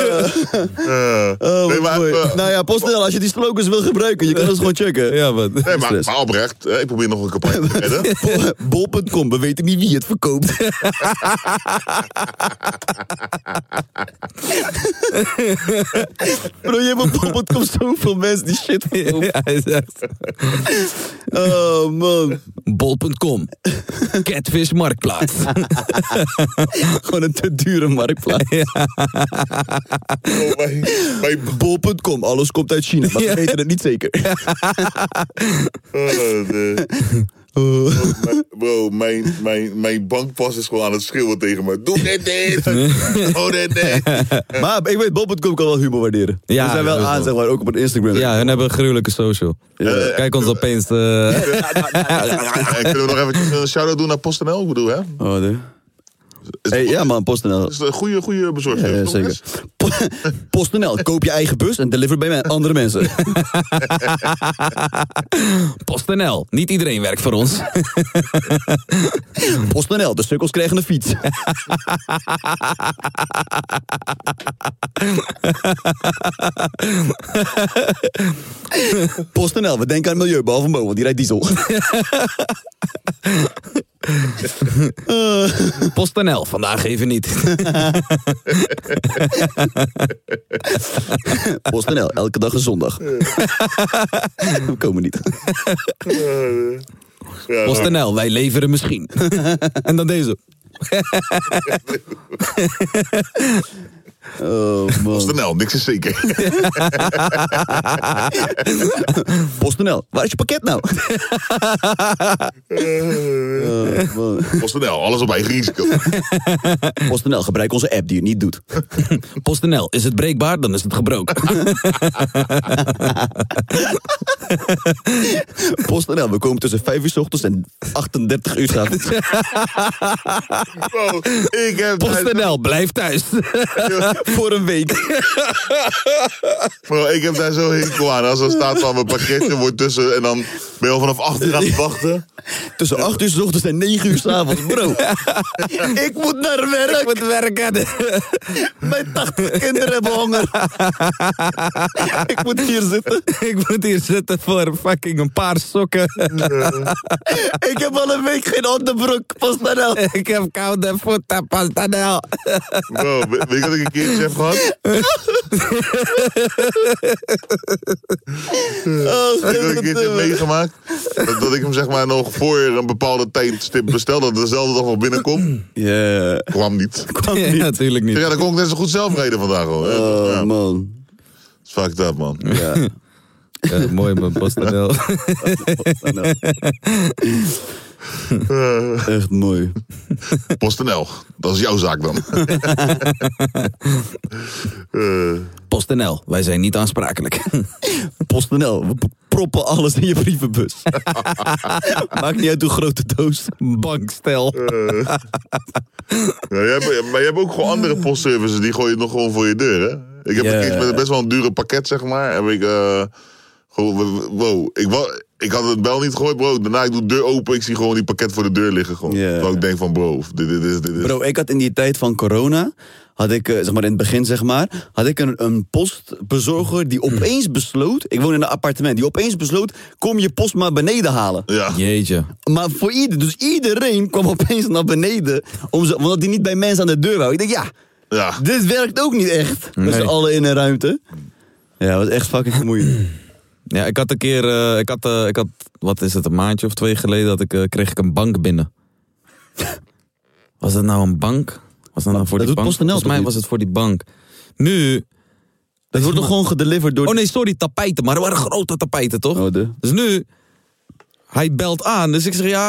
Eh, nee, maar,
Mooi.
eh,
nou ja, PostNL, als je die slogans wil gebruiken, je kan dat gewoon checken.
ja, man.
nee, maar, maar oprecht, eh, ik probeer nog een campagne te redden.
Bol.com, we weten niet wie het verkoopt. Bro, je hebt op bol.com zoveel mensen die shit verkopen.
Ja, hij zegt,
Oh man,
Bol.com, Catfish Marktplaats.
gewoon een te dure marktplaats.
Oh,
Bij bol.com, alles komt uit China, maar we
Ja.
weten het niet zeker.
Oh, de- Oh, mijn- Bro, mijn, mijn, mijn bankpas is gewoon aan het schreeuwen tegen me. Doe dit niet! Doe dit niet!
Maar ik weet, bol.com kan wel humor waarderen.
Ja,
we zijn wel
dat is
aan,
wel.
zeg maar, ook op een Instagram.
Ja, hun hebben een gruwelijke social.
Ja.
Kijk ons opeens. eh
En kunnen we nog even een shout-out doen naar PostNL? Ik bedoel, hè?
Oh, nee.
Is
Hey, ja man, PostNL.
is een goede, goede bezorging.
Ja, ja, Eh, zeker. Po- PostNL, koop je eigen bus en deliver bij me- andere mensen.
PostNL. Niet iedereen werkt voor ons.
PostNL, de sukkels krijgen een fiets. PostNL, we denken aan het milieu, behalve Mo, want die rijdt diesel.
PostNL, vandaag even niet.
PostNL, elke dag een zondag. we komen niet.
Ja, nou,
PostNL, wij leveren misschien. en dan deze.
Oh man.
PostNL, niks is zeker.
PostNL, waar is je pakket nou? Oh, man.
PostNL, alles op eigen risico.
PostNL, gebruik onze app die het niet doet.
PostNL, is het breekbaar? Dan is het gebroken.
PostNL, we komen tussen 5 uur 's ochtends en 38 uur 's avonds.
Bro, ik heb...
PostNL, blijf thuis.
Voor een week.
Bro, ik heb daar zo hekel aan. Als er staat van mijn pakketje wordt tussen en dan ben je al vanaf 8 uur aan het wachten.
Tussen 8 uur 's ochtends en 9 uur 's avonds, bro. Ik moet naar werk.
moet werken.
Mijn 80 kinderen hebben honger. Ik moet hier zitten.
Ik moet hier zitten voor fucking een paar sokken.
Ik heb al een week geen onderbroek. PostNL.
Ik heb koude voeten, PostNL.
Bro, we- weet je dat ik een keertje heb gehad?
Oh,
Weet je dat ik een keertje heb meegemaakt? Dat, dat ik hem zeg maar nog voor een bepaalde tijdstip bestel, dat ik dezelfde dag nog binnenkom.
Ja,
Kwam niet.
kwam
Ja,
niet.
natuurlijk niet.
Ja, dan kon ik net zo goed zelf rijden vandaag hoor.
Oh,
Ja,
man.
is fucked up man.
Ja.
Ja, mooi man, PostNL.
PostNL.
Eh,
Echt mooi.
PostNL, dat is jouw zaak dan. Eh,
PostNL, wij zijn niet aansprakelijk.
PostNL, we p- proppen alles in je brievenbus. Maakt niet uit hoe groot de doos.
Bankstel.
ja, je hebt, maar je hebt ook gewoon andere postservices, die gooien het nog gewoon voor je deur, hè? Ik heb
Ja.
een keer met best wel een dure pakket, zeg maar. Heb ik, eh, gewoon, wow, ik, wa- ik had het bel niet gehoord, bro. Daarna ik doe de deur open, ik zie gewoon die pakket voor de deur liggen. Gewoon.
Ja.
Terwijl ik denk van, bro, dit, dit is... Dit is.
Bro, ik had in die tijd van corona, had ik, eh, zeg maar in het begin zeg maar, had ik een, een postbezorger die opeens besloot, ik woon in een appartement, die opeens besloot, kom je post maar beneden halen.
Ja.
Jeetje.
Maar voor ieder, dus iedereen kwam opeens naar beneden, om ze, omdat die niet bij mensen aan de deur wou. Ik denk, ja,
ja.
dit werkt ook niet echt. Met
Nee.
z'n allen in een ruimte. Ja, dat was echt fucking vermoeiend.
Ja, ik had een keer, eh, ik, had, eh, ik had, wat is het, een maandje of twee geleden had ik, eh, kreeg ik een bank binnen. Was dat nou een bank? Was dat nou voor
dat
die
doet
bank?
PostNL
Volgens mij
toch
was het voor die bank. Nu,
Dat wordt toch gewoon gedeliverd door...
oh nee, sorry, tapijten, maar er waren grote tapijten toch?
Oh, de-
Dus nu, hij belt aan, dus ik zeg ja,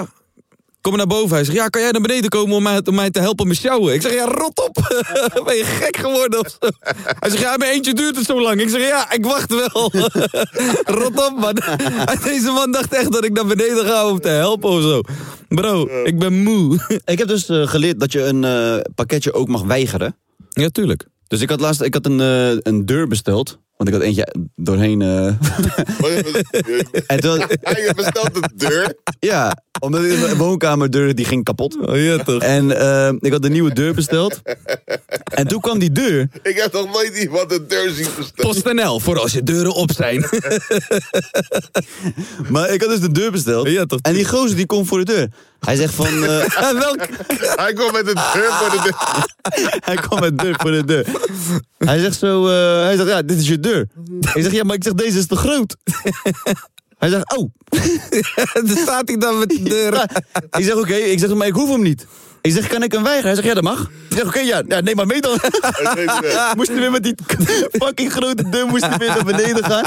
kom maar naar boven. Hij zegt ja, kan jij naar beneden komen om mij, om mij te helpen met sjouwen? Ik zeg ja, rot op, ben je gek geworden of zo? Hij zegt ja, mijn eentje duurt het zo lang. Ik zeg ja, ik wacht wel. rot op man. Deze man dacht echt dat ik naar beneden ga om te helpen of zo. Bro, ik ben moe.
Ik heb dus eh, geleerd dat je een eh, pakketje ook mag weigeren.
ja, tuurlijk.
Dus ik had laatst ik had een, eh, een deur besteld. Want ik had eentje doorheen. eh,
Maar je-
en toen,
je bestelt de deur.
ja, omdat de woonkamerdeur die ging kapot.
Oh ja toch.
En eh, ik had een nieuwe deur besteld. En toen kwam die deur.
Ik heb nog nooit iemand de deur zien bestellen.
PostNL, voor als je deuren op zijn.
Maar ik had dus de deur besteld.
Ja, toch.
En die gozer die komt voor de deur. Hij zegt van. eh,
Welk?
Hij kwam met de deur voor de deur.
hij kwam met deur voor de deur. Hij zegt zo. eh, hij zegt, ja, dit is je deur. Ik zeg, ja, maar ik zeg, deze is te groot. Hij zegt, oh.
Daar staat hij dan met die deuren.
Ik zeg, oké, ik zeg, maar ik hoef hem niet. Ik zeg, kan ik hem weigeren? Hij zegt, ja, dat mag. Ik zeg, oké, ja, ja, neem maar mee dan. moesten weer met die fucking grote deur moesten weer naar beneden gaan.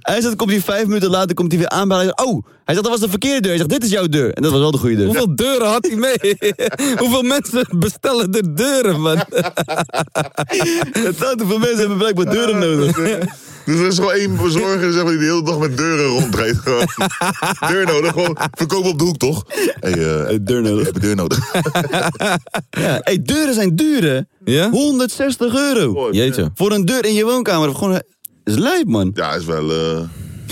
Hij zegt, komt hij vijf minuten later, komt hij weer aanbellen. Hij zegt, oh, hij zegt, dat was de verkeerde deur. Hij zegt, dit is jouw deur. En dat was wel de goede deur.
Hoeveel deuren had hij mee? Hoeveel mensen bestellen de deuren, man?
Te veel mensen hebben blijkbaar deuren nodig.
Dus er is gewoon één bezorger zeg maar, die de hele dag met deuren rondrijdt. Gewoon. Deur nodig, gewoon verkopen op de hoek, toch? Hey, eh,
Eh,
deur nodig.
Heb je deur nodig?
Ja, hey, deuren zijn duur, hè?
Ja?
160 euro.
Jeetje.
Voor een deur in je woonkamer. Gewoon, dat is lijp, man.
Ja, is wel... eh,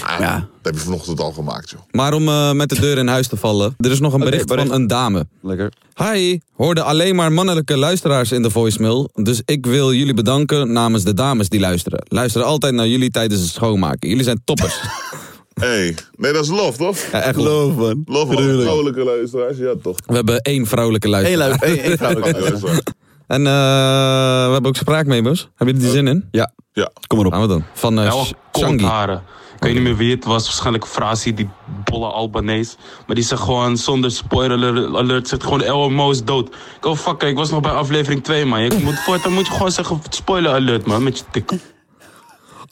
ah,
Ja.
Dat heb je vanochtend al gemaakt, joh.
Maar om eh, met de deur in huis te vallen, er is nog een bericht
bericht.
van een dame.
Lekker.
Hi, hoorde alleen maar mannelijke luisteraars in de voicemail. Dus ik wil jullie bedanken namens de dames die luisteren. Luisteren altijd naar jullie tijdens het schoonmaken. Jullie zijn toppers.
Hey. Nee, dat is love, toch?
Ja, echt leuk.
Geloof, man.
Love, man. vrouwelijke luisteraars. Ja, toch.
We hebben één vrouwelijke
Eén
luisteraar.
lui- één- één vrouwelijke
Vrouwelijke
luisteraar.
luisteraars.
En eh, we hebben ook spraakmemo's. Hebben jullie er zin in?
Ja,
Ja.
kom maar op.
Gaan we dan. Van eh, Sh- Shangi.
haren. Oh, Ik weet niet meer wie het was, waarschijnlijk Frasi, die bolle Albanees. Maar die zegt gewoon, zonder spoiler alert, zegt gewoon LMO is dood. Ik oh fuck, ik was nog bij aflevering 2, man. Je moet, voortaan moet je gewoon zeggen, spoiler alert, man, met je tik.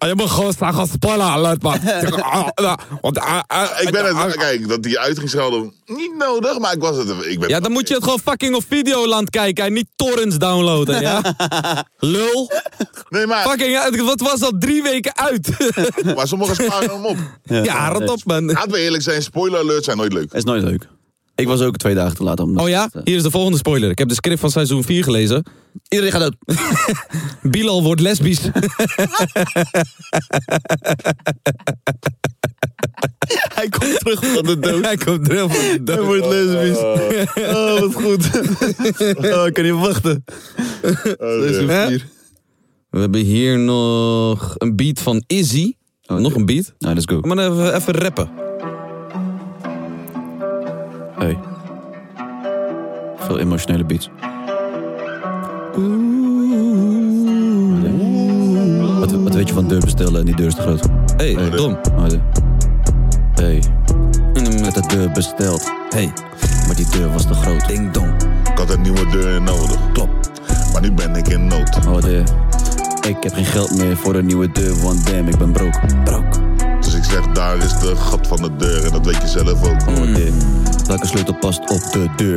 Je moet gewoon gaan spallen, alert man.
Ik ben het... Kijk, dat die uit ging schelden, Niet nodig, maar ik was het... Ik ben
Ja, dan moet je het gewoon fucking op Videoland kijken en niet torrents downloaden, ja? Lul.
Nee, maar,
Fucking, ja, wat was dat? Drie weken uit.
maar sommigen sparen hem op.
ja, Ah, rot op, man.
Laten we eerlijk zijn, spoiler alert zijn nooit leuk.
is nooit leuk. Ik was ook twee dagen te laat eh, om.
Oh ja, hier is de volgende spoiler. Ik heb de script van seizoen 4 gelezen.
Iedereen gaat dood.
Bilal wordt lesbisch.
Hij komt terug van de dood.
Hij komt er heel van de
Hij
dood.
wordt lesbisch. Oh, wat goed. Oh, ik kan niet wachten. Seizoen
Hè?
vier.
We hebben hier nog een beat van Izzy. nog een beat.
Nou, let's go.
Maar even, even rappen.
Hey. Veel emotionele beats. Wat, wat weet je van deur bestellen en die deur is te groot?
Hé, hey, dom.
Hé. Hey. Met de deur besteld.
Hey,
Maar die deur was te groot.
ding dong.
Ik had een nieuwe deur nodig.
Klopt.
Maar nu ben ik in nood.
Oh, de. Ik heb geen geld meer voor een nieuwe deur, want damn, ik ben broke. Broke.
Dus ik zeg, daar is de gat van de deur. En dat weet je zelf ook.
Oh, de. Welke sleutel past op de deur?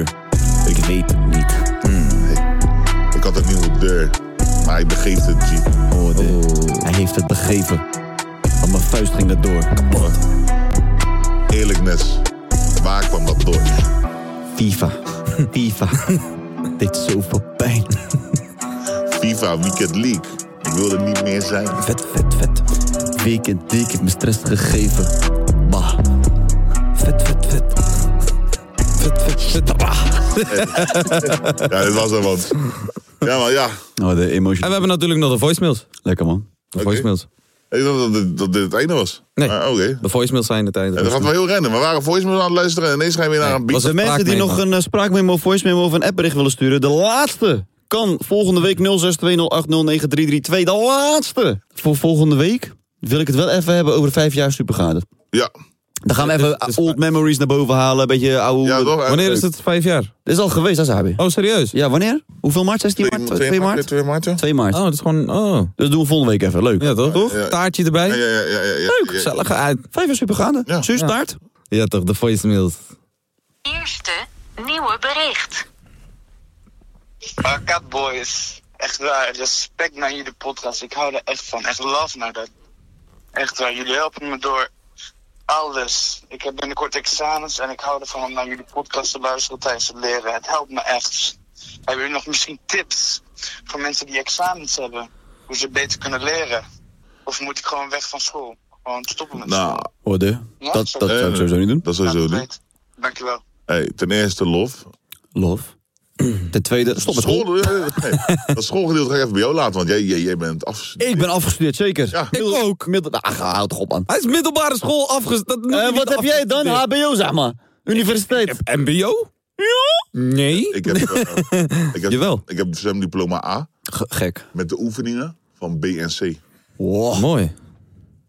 Ik weet het niet.
Ik had een nieuwe deur. Maar hij begeeft het, G.
Oh, de. Hij heeft het begeven. Want mijn vuist ging er door. Kapot.
Eerlijkness. Waar kwam dat door?
FIFA. FIFA. Dit zoveel pijn.
FIFA Weekend League. Ik wil er niet meer zijn.
Vet, vet, vet. Weekend, week heeft me stress gegeven. Bah. Vet, vet, vet. Vet, vet, vet.
Ja, dit was er wat. Ja, maar ja.
Oh, de emotie.
En we hebben natuurlijk nog de voicemails.
Lekker, man.
De voicemails.
Ik dacht dat dit, dat dit het einde was.
Nee.
Maar oké.
De voicemails zijn het einde.
Ja, dat gaat wel heel rennen. We waren voicemails aan het luisteren en ineens ga je weer naar een beat.
was
De mensen die nog een eh, spraakmemo, voicememo of een appbericht willen sturen, de laatste kan volgende week 0620809332. De laatste voor volgende week wil ik het wel even hebben over vijf jaar supergade.
Ja.
Dan gaan we even
dus-
old memories naar boven halen, een beetje oude...
ja, toch?
Wanneer is het vijf jaar?
Dit is al geweest, dat is Abi.
Oh, serieus?
Ja, wanneer? Hoeveel maart? 16
2
maart?
2
2 maart?
maart, ja.
2 maart.
Oh, dat is gewoon... Oh.
Dus dat doen we volgende week even. Leuk.
Ja, toch?
Ja.
Taartje erbij.
Ja, ja, ja, ja, ja, ja.
Leuk, gezellig uit.
Vijf jaar supergaande.
Ja.
Suus, taart.
Ja, toch, de voicemails.
Eerste nieuwe bericht.
Cat boys, echt waar, respect naar jullie podcast. Ik hou er echt van, echt love naar dat. Echt waar, jullie helpen me door alles. Ik heb binnenkort examens en ik hou ervan om naar jullie podcast te luisteren tijdens het leren. Het helpt me echt. Hebben jullie nog misschien tips voor mensen die examens hebben? Hoe ze beter kunnen leren? Of moet ik gewoon weg van school? Gewoon stoppen met
Nou,
school?
Orde.
Ja,
Dat,
zo-
dat zou ik
Eh,
sowieso niet doen.
dat
Laat
sowieso
het
niet.
weten. Dankjewel.
Hey, ten eerste lof.
Love. Ten tweede, stop met school.
School, eh, nee. dat schoolgedeelte ga ik even bij jou laten, want jij, jij, jij bent af.
Ik ben afgestudeerd, zeker.
Ja.
Ik ook. Middel... Ach, houd toch op, man.
Hij is middelbare school afgesteld.
En wat heb jij dan? HBO, zeg maar. Universiteit.
MBO? Ja. Nee.
Ik heb, eh, ik heb,
Jawel.
Ik heb zwemdiploma A
G- Gek.
met de oefeningen van B en C.
Wow.
Mooi.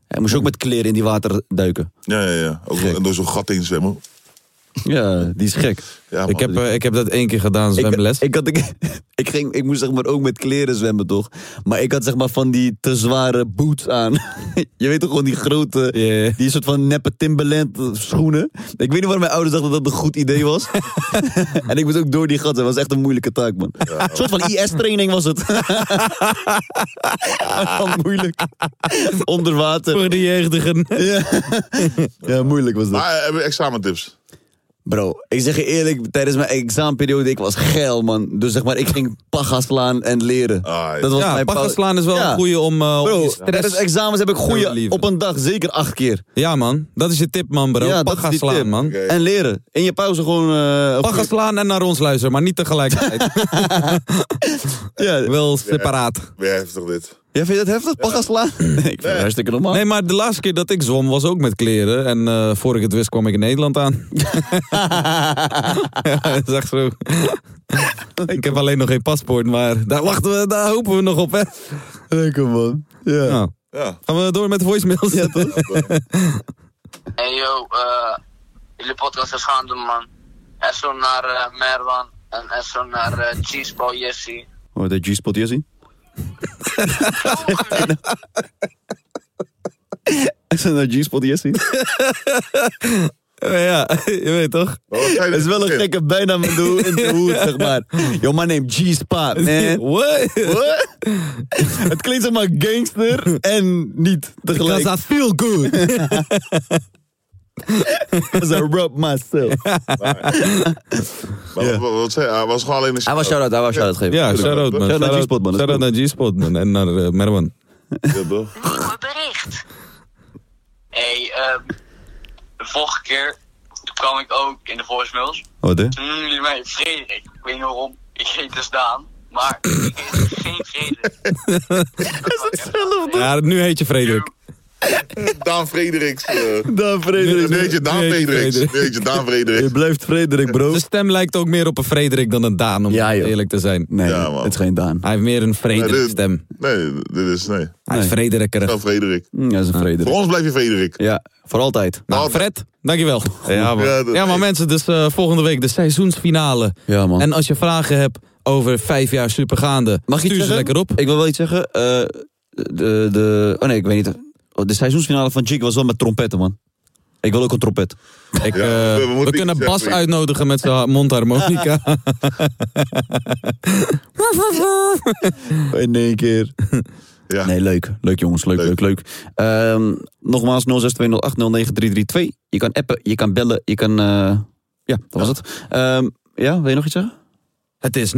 Hij moest ook met kleren in die water duiken.
Ja, ja, ja. Ook
Gek.
en door zo'n gat heen zwemmen.
Ja, die is gek.
ik, heb, eh, ik heb dat één keer gedaan, zwemles.
Ik, ik, had, ik, ik, ging, ik moest zeg maar ook met kleren zwemmen, toch? Maar ik had zeg maar van die te zware boots aan. je weet toch gewoon die grote, die soort van neppe Timberland schoenen. Ik weet niet waarom mijn ouders dachten dat dat een goed idee was. en ik moest ook door die gaten. Dat was echt een moeilijke taak, man. Een soort van IS-training was het. Wel moeilijk. Onder water.
Voor de jeugdigen.
ja. ja, moeilijk was dat.
Maar Ah, eh, hebben we examentips?
Bro, ik zeg je eerlijk, tijdens mijn examenperiode, ik was geil, man. Dus zeg maar, ik ging pagga slaan en leren. dat was
Ah, Ja,
mijn
pagga
pau-
slaan is wel een goeie om, eh, om
Bro,
je stress
tijdens examens heb ik
te
goede
relieven.
op een dag, zeker acht keer.
Ja, man. Dat is je tip, man, bro.
Ja, dat
Pagga
is die
slaan,
tip.
man.
Oké. En leren. In je pauze gewoon... eh
Pagga slaan en naar ons luisteren, maar niet tegelijkertijd.
ja.
Wel separaat.
Weer heftig dit.
Jij vindt het heftig, pagga slaan? Nee, ik vind het hartstikke normaal.
Nee, maar de laatste keer dat ik zwom was ook met kleren. En eh, voor ik het wist kwam ik in Nederland aan. ja, dat is echt zo. ik heb alleen nog geen paspoort, maar daar wachten we, daar hopen we nog op, hè.
Lekker, man. Ja.
Ja.
Gaan we door met voicemails? Ja, toch?
Hey yo, eh, jullie podcast is gaande man. Esso naar eh, Merwan en Esso naar eh, Cheeseball Jesse.
Hoor dat G-spot hier zien? Is dat nou G-spot hier zien?
ja, je weet toch?
Het is wel een gekke bijnaam in de, ho- in de hoed, zeg maar. Yo, my name G-Spa, man.
What?
What? Het klinkt zeg maar gangster en niet tegelijk.
Because I feel good.
Because I rub myself.
Maar wat, wat zei hij? Hij was gewoon alleen een
Hij was shout-out, hij was shout-out geven.
Ja, shout-out, man.
Shout-out naar G-Spot, man. Dat is
Shout-out naar G-Spot, man. En naar eh, Merwan.
Ja, toch?
Nieuwe bericht.
Hey, eh, de vorige keer toen kwam ik ook in de voicemails.
Wat, hè?
Toen noemden jullie mij Frederik. Ik weet niet waarom, ik heet dus Daan. Maar ik heet geen Frederik.
Ja, nu heet je Frederik.
Daan Frederiks. eh.
Daan
Nu heet je Daan
Nu heet je
Frederiks.
Frederik.
Nu heet je Daan Frederiks.
Je blijft Frederik, bro.
De stem lijkt ook meer op een Frederik dan een Daan, om
Ja, joh.
eerlijk te zijn.
Nee,
Ja, man.
het is geen Daan.
Hij heeft meer een
Nee, dit-
Frederik-stem.
Nee, dit is nee.
Hij is
Nee.
Frederikker.
Nou, Frederik.
Hm, Dat is een
Voor
Frederik.
ons blijf je Frederik.
Ja, voor altijd.
Nou, Fred, dankjewel. Ja, man.
Ja, dat-
ja, maar mensen, dus eh, volgende week de seizoensfinale.
Ja, man.
En als je vragen hebt over vijf jaar supergaande,
Oh. Mag ik iets
stuur ze
zeggen?
lekker op.
Ik wil wel iets zeggen. Eh, de, de, oh nee, ik weet niet. De seizoensfinale van Chick was wel met trompetten, man. Ik wil ook een trompet.
Ik,
Ja,
eh,
we- we
we
moeten
kunnen
iets
Bas
zeggen.
uitnodigen met zijn mondharmonica.
In één keer.
Ja.
Nee, leuk. Leuk jongens, leuk, leuk, leuk. Ehm, nogmaals, 0620809332. Je kan appen, je kan bellen, je kan... eh, ja, dat was het. Ehm, ja, wil je nog iets zeggen?
Het is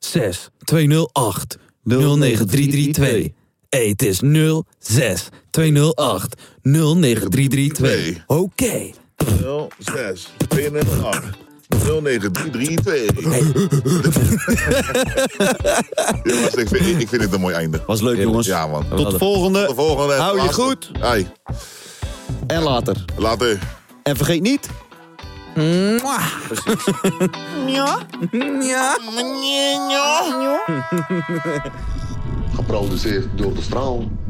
06 208 09332. Hey, het is 06 208 09332. Oké.
0, 6, 21, 8, 0, 9, 3, 3, 2. Ja, maar ik, vind, ik vind dit een mooi einde.
Was leuk jongens.
Ja, man.
Tot de
Tot de
volgende
volgende.
Hou je
Laatste.
goed.
Hey,
en later.
later.
En vergeet niet...
Geproduceerd door de straal.